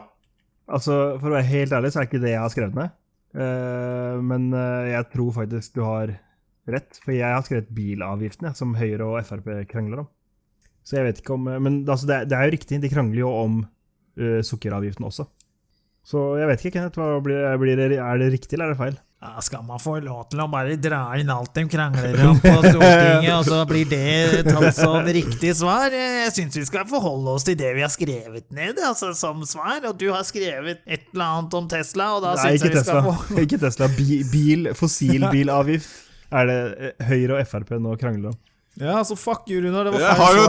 Altså, For å være helt ærlig, så er ikke det jeg har skrevet ned. Eh, men eh, jeg tror faktisk du har rett, for jeg har skrevet bilavgiftene, som Høyre og Frp krangler om. Så jeg vet ikke om eh, Men altså, det, er, det er jo riktig, de krangler jo om eh, sukkeravgiften også. Så jeg vet ikke, Kenneth. Hva blir, eh, blir det, er det riktig, eller er det feil?
Ja, skal man få lov til å bare dra inn alt de krangler om på Stortinget, og så blir det tatt som riktig svar? Jeg syns vi skal forholde oss til det vi har skrevet ned altså, som svar. Og du har skrevet et eller annet om Tesla, og da
Nei,
syns jeg
ikke
vi skal
Tesla.
få
ikke Tesla. Bi, bil, fossilbilavgift er det eh, Høyre og Frp nå krangler om.
Ja, så fuck you, Runar. Det
Jeg har jo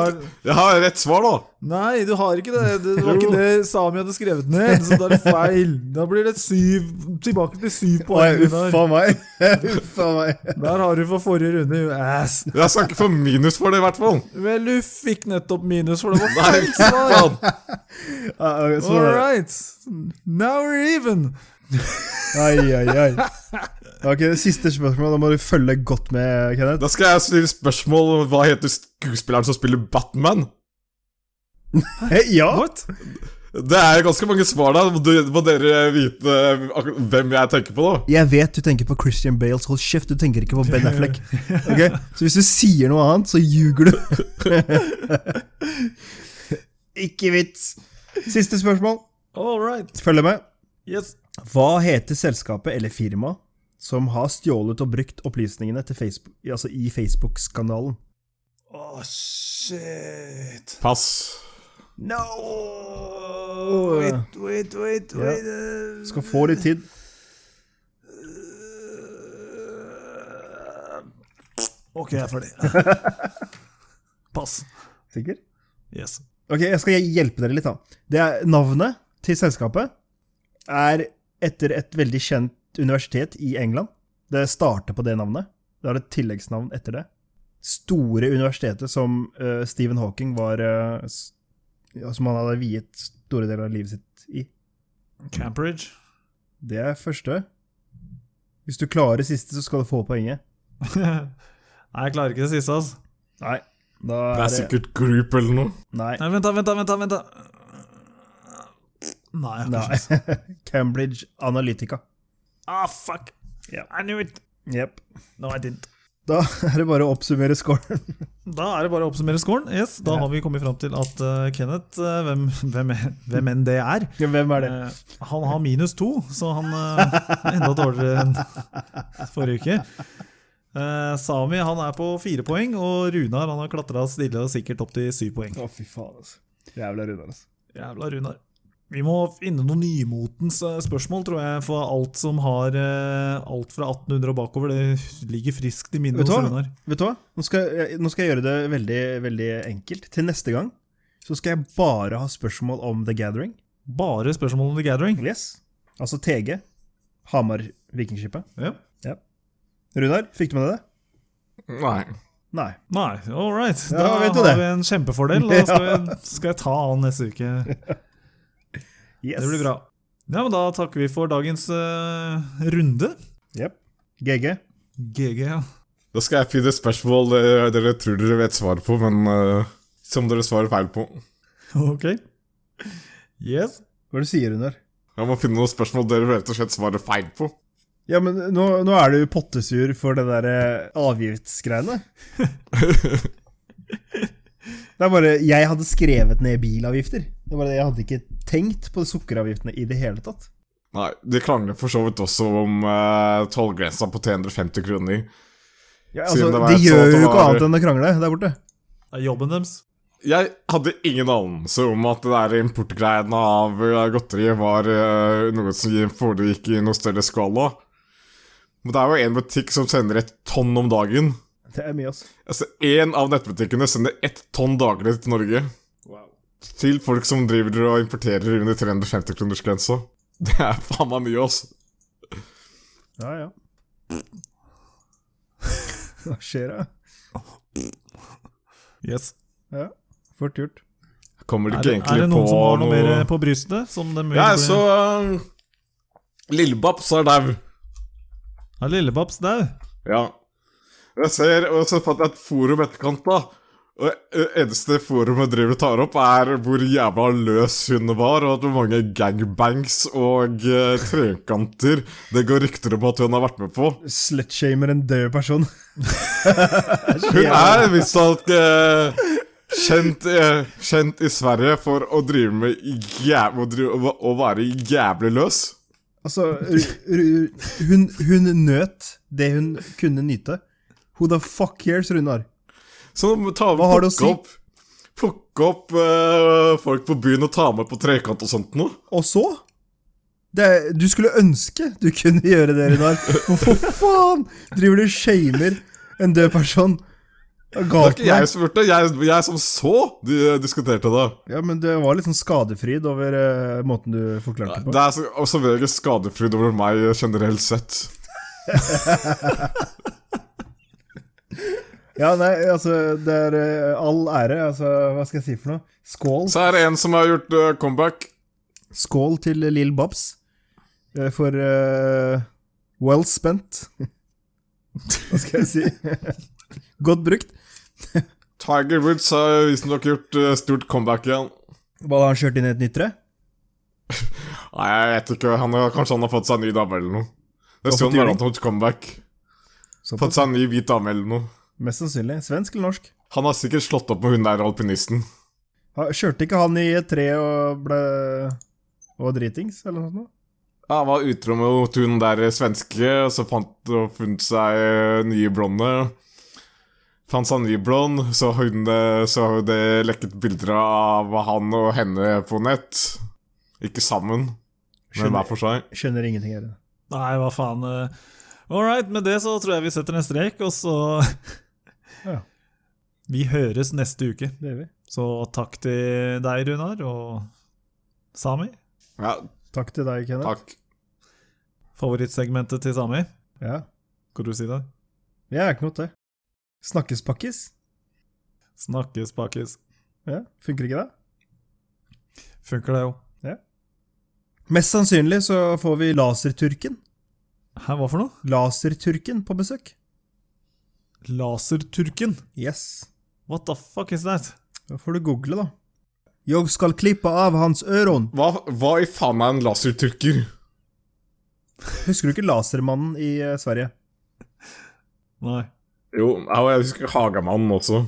jeg har rett svar, da.
Nei, du har ikke det. Det var ikke det Sami hadde skrevet ned, så da er det feil. Da blir det syv Tilbake til syv poeng, Runar.
meg.
Der har du fra forrige runde, you ass.
Jeg skal ikke få minus for det, i hvert fall.
Vel, du fikk nettopp minus, for det var feil svar. All right. Now we're even.
Ai, ai, ai. Ok, det Siste spørsmål. Da må du følge godt med, Kenneth.
Da skal jeg stille spørsmål om hva heter skuespilleren som spiller Batman.
Hei, ja!
What?
Det er ganske mange svar der. Må du- Må dere vite eh, akkur- hvem jeg tenker på, da?
Jeg vet du tenker på Christian Bale, så hold kjeft. Du tenker ikke på Ben Affleck. Ok, Så hvis du sier noe annet, så ljuger du. ikke vits. Siste spørsmål.
All right.
Følg med.
Yes.
Hva heter selskapet eller firmaet som har stjålet og brukt opplysningene til Facebook, altså i Facebook-skandalen?
Å, Oh, shit.
Pass.
No! Wait, wait, wait,
Ja.
wait. uh,
Skal få litt tid.
eh. Ok, jeg er ferdig. Pass.
Sikker?
Yes.
Ok, jeg skal hjelpe dere litt, da. Det er navnet til selskapet er etter et veldig kjent universitet i England. Det starter på det navnet. Det har et tilleggsnavn etter det. Store universitetet som eh, Stephen Hawking var eh, s- ja, Som han hadde viet store deler av livet sitt i.
Cambridge.
Det er første. Hvis du klarer siste, så skal du få poenget.
Nei, jeg klarer ikke det siste, altså.
Nei. Da
Det
er
er
det
sikkert Group eller noe.
Nei.
Nei, vent da, vent da, vent da, vent da. Nei, jeg har ikke sjans.
Nei. Cambridge Analytica.
Ah, fuck.
Ja.
I knew it.
Jepp.
No, I didn't.
Da er det bare å oppsummere scoren.
Da er det bare å oppsummere scoren. Yes, da
Ja.
har vi kommet fram til at eh, Kenneth, eh, hvem, hvem, hvem enn det er,
Hvem er det?
eh, han har minus to, så han eh, er enda dårligere enn forrige uke. Eh, Sami han er på fire poeng, og Runar han har klatra stille og sikkert opp til syv poeng.
Å, fy faen, altså. Jævla Runar, altså.
Jævla Runar. Vi må finne noen nymotens eh, spørsmål, tror jeg, for alt som har eh, alt fra 1800 og bakover, det ligger friskt i minnet
Vet du
hos
hva?
Runar.
Vet du hva? Nå skal, jeg, nå skal jeg gjøre det veldig, veldig enkelt. Til neste gang så skal jeg bare ha spørsmål om The Gathering.
Bare spørsmål om The Gathering.
Yes. Altså TG. Hamar-vikingskipet.
Ja.
Runar, fikk du med deg det?
Nei.
Nei.
Nei, all right.
Ja,
da
vet du
har
det.
vi en kjempefordel. Da skal, vi, skal jeg ta han neste uke.
Yes.
Det blir bra. Ja, men Da takker vi for dagens eh, runde.
Jep. GG.
GG. ja.
Da skal jeg finne spørsmål dere, dere tror dere vet svaret på, men eh, som dere svarer feil på.
Ok. Yes.
Hva er det du sier, Runar?
Jeg må finne noen spørsmål dere rett og slett svarer feil på.
Ja, men nå, nå er du pottesur for det der eh, avgiftsgreiene. Det er bare Jeg hadde skrevet ned bilavgifter. Det er bare det Jeg hadde ikke tenkt på sukkeravgiftene i det hele tatt.
Nei, de krangler for så vidt også om uh, tollgrensa på 350 kroner.
Ja,
Siden
altså,
det var
De
et
gjør
sånt
jo ikke
var-
annet enn å krangle der borte.
Det er jobben deres.
Jeg hadde ingen anelse om at det der importgreiene av eh, godteri var eh, noe som foregikk i noe større skala. Men det er jo en butikk som sender et tonn om dagen.
Det er mye, altså.
Altså, Én av nettbutikkene sender ett tonn daglig til Norge. Til folk som driver og importerer under 350-kronersgrensa. Det er faen meg mye, altså.
Ja, ja. Hva skjer da?
Yes.
Ja, fort gjort.
Kommer det
Er,
ikke
det-
egentlig
er det noen
på
som har noe mer eh, på brystet? Som de vil
Ja,
bli-
så eh, Lillebabs er dau.
Er Lillebabs dau?
Ja. Jeg ser, og så fant jeg et forum etterkant, da. Og det eneste forumet driver og tar opp, er hvor jævla løs hun var, og at hvor mange gangbangs og eh, trekanter det går rykter om at hun har vært med på.
Slutshamer en død person.
Hun er visstnok uh, kjent, eh, kjent i Sverige for å drive med jæv å, drive, å være jævlig løs.
Altså, ru- ru- hun, hun nøt det hun kunne nyte. Who the fuck cares, Runar?
Så nå må ta,
Hva har det å si?
plukke opp, plukke opp eh, folk på byen og ta med på trekant og sånt noe.
Og så? Det, er- du skulle ønske du kunne gjøre det, Runar. Hvorfor faen driver du og shamer en død person? Det er
Det var
Galt
ikke jeg som spurte, jeg, jeg som så de eh, diskuterte det.
Ja, men det var litt sånn skadefryd over eh, måten du forklarte det på.
Det er så- og som regel skadefryd over meg generelt sett.
Ja, nei, altså, det er eh, all ære. Altså, hva skal jeg si for noe? Skål.
Så er det en som har gjort eh, comeback.
Skål til Lill Babs eh, for eh, well spent. Hva skal jeg si? Godt brukt.
Tiger Woods har visstnok gjort eh, stort comeback igjen.
Hva har han kjørt inn i et nytt tre?
Nei, jeg vet ikke, han har, Kanskje han har fått seg en ny dame eller noe. Det
Hva
sto
for
en
tyring?
mellomtomt comeback. Fått
Såpass.
seg en ny hvit dame eller noe.
Mest sannsynlig. Svensk eller norsk?
Han har sikkert slått opp med hun der alpinisten.
Ha- Kjørte ikke han i et tre og ble og var dritings, eller noe sånt? nå?
Ja, Han var utro mot hun der svenske, og så fant og funnet seg eh, nye blonde. Fant seg en ny blond, så, hun, eh, så det lekket bilder av han og henne på nett. Ikke sammen, men hver
Skjønner,
for seg.
skjønner ingenting her.
Nei, hva faen. eh. All right, med det så tror jeg vi setter en strek, og så
Ja.
Vi høres neste uke.
Det gjør vi.
Så takk til deg, Runar, og Sami.
Ja,
Takk til deg, Kenneth.
takk.
Favorittsegmentet til Sami.
Ja.
Kan du si det?
Jeg er ikke noe til. Snakkespakkis?
Snakkes, pakkes.
Ja, funker ikke det?
Funker det jo.
Mest sannsynlig så får vi Laserturken.
Hæ, hva for noe?
Laserturken på besøk.
Laserturken.
Yes.
What the fuck is that?
Da får du google, da. Jeg skal klippe av hans øron.
Hva, hva i faen er en laserturker?
Husker du ikke Lasermannen i eh, Sverige?
Nei.
Jo, ja, og jeg husker Hagamannen også.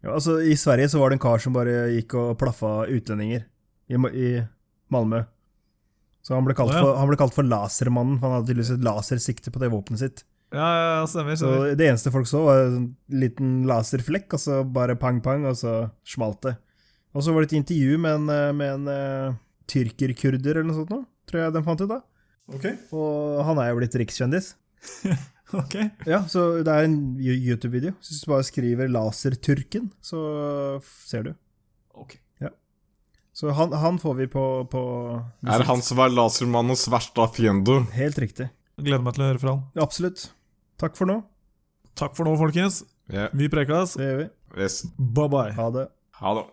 Ja, altså, I Sverige så var det en kar som bare gikk og plaffa utlendinger i, Ma- i Malmö. Så han ble, kalt
Å, ja.
for, han ble kalt for Lasermannen, for han hadde tydeligvis et lasersikte på det våpenet sitt.
Ja, ja, ja, stemmer.
Så
stemmer.
det eneste folk så, var en liten laserflekk, og så bare pang-pang, og så smalt det. Og så var det et intervju med en, eh, med en eh, tyrker-kurder eller noe sånt, nå, tror jeg den fant ut, da.
Ok,
Og han er jo blitt rikskjendis.
ok.
Ja, så det er en You- YouTube-video. Så Hvis du bare skriver 'Laserturken', så f- ser du.
Ok.
Så han, han får vi på, på
Er han som er lasermannens verste fiende?
Helt riktig.
Gleder meg til å høre fra han.
Absolutt. Takk for nå.
Takk for nå, folkens.
Ja,
Vi prekes.
Det gjør vi.
yes.
Bye-bye.
Ha det.
Ha det.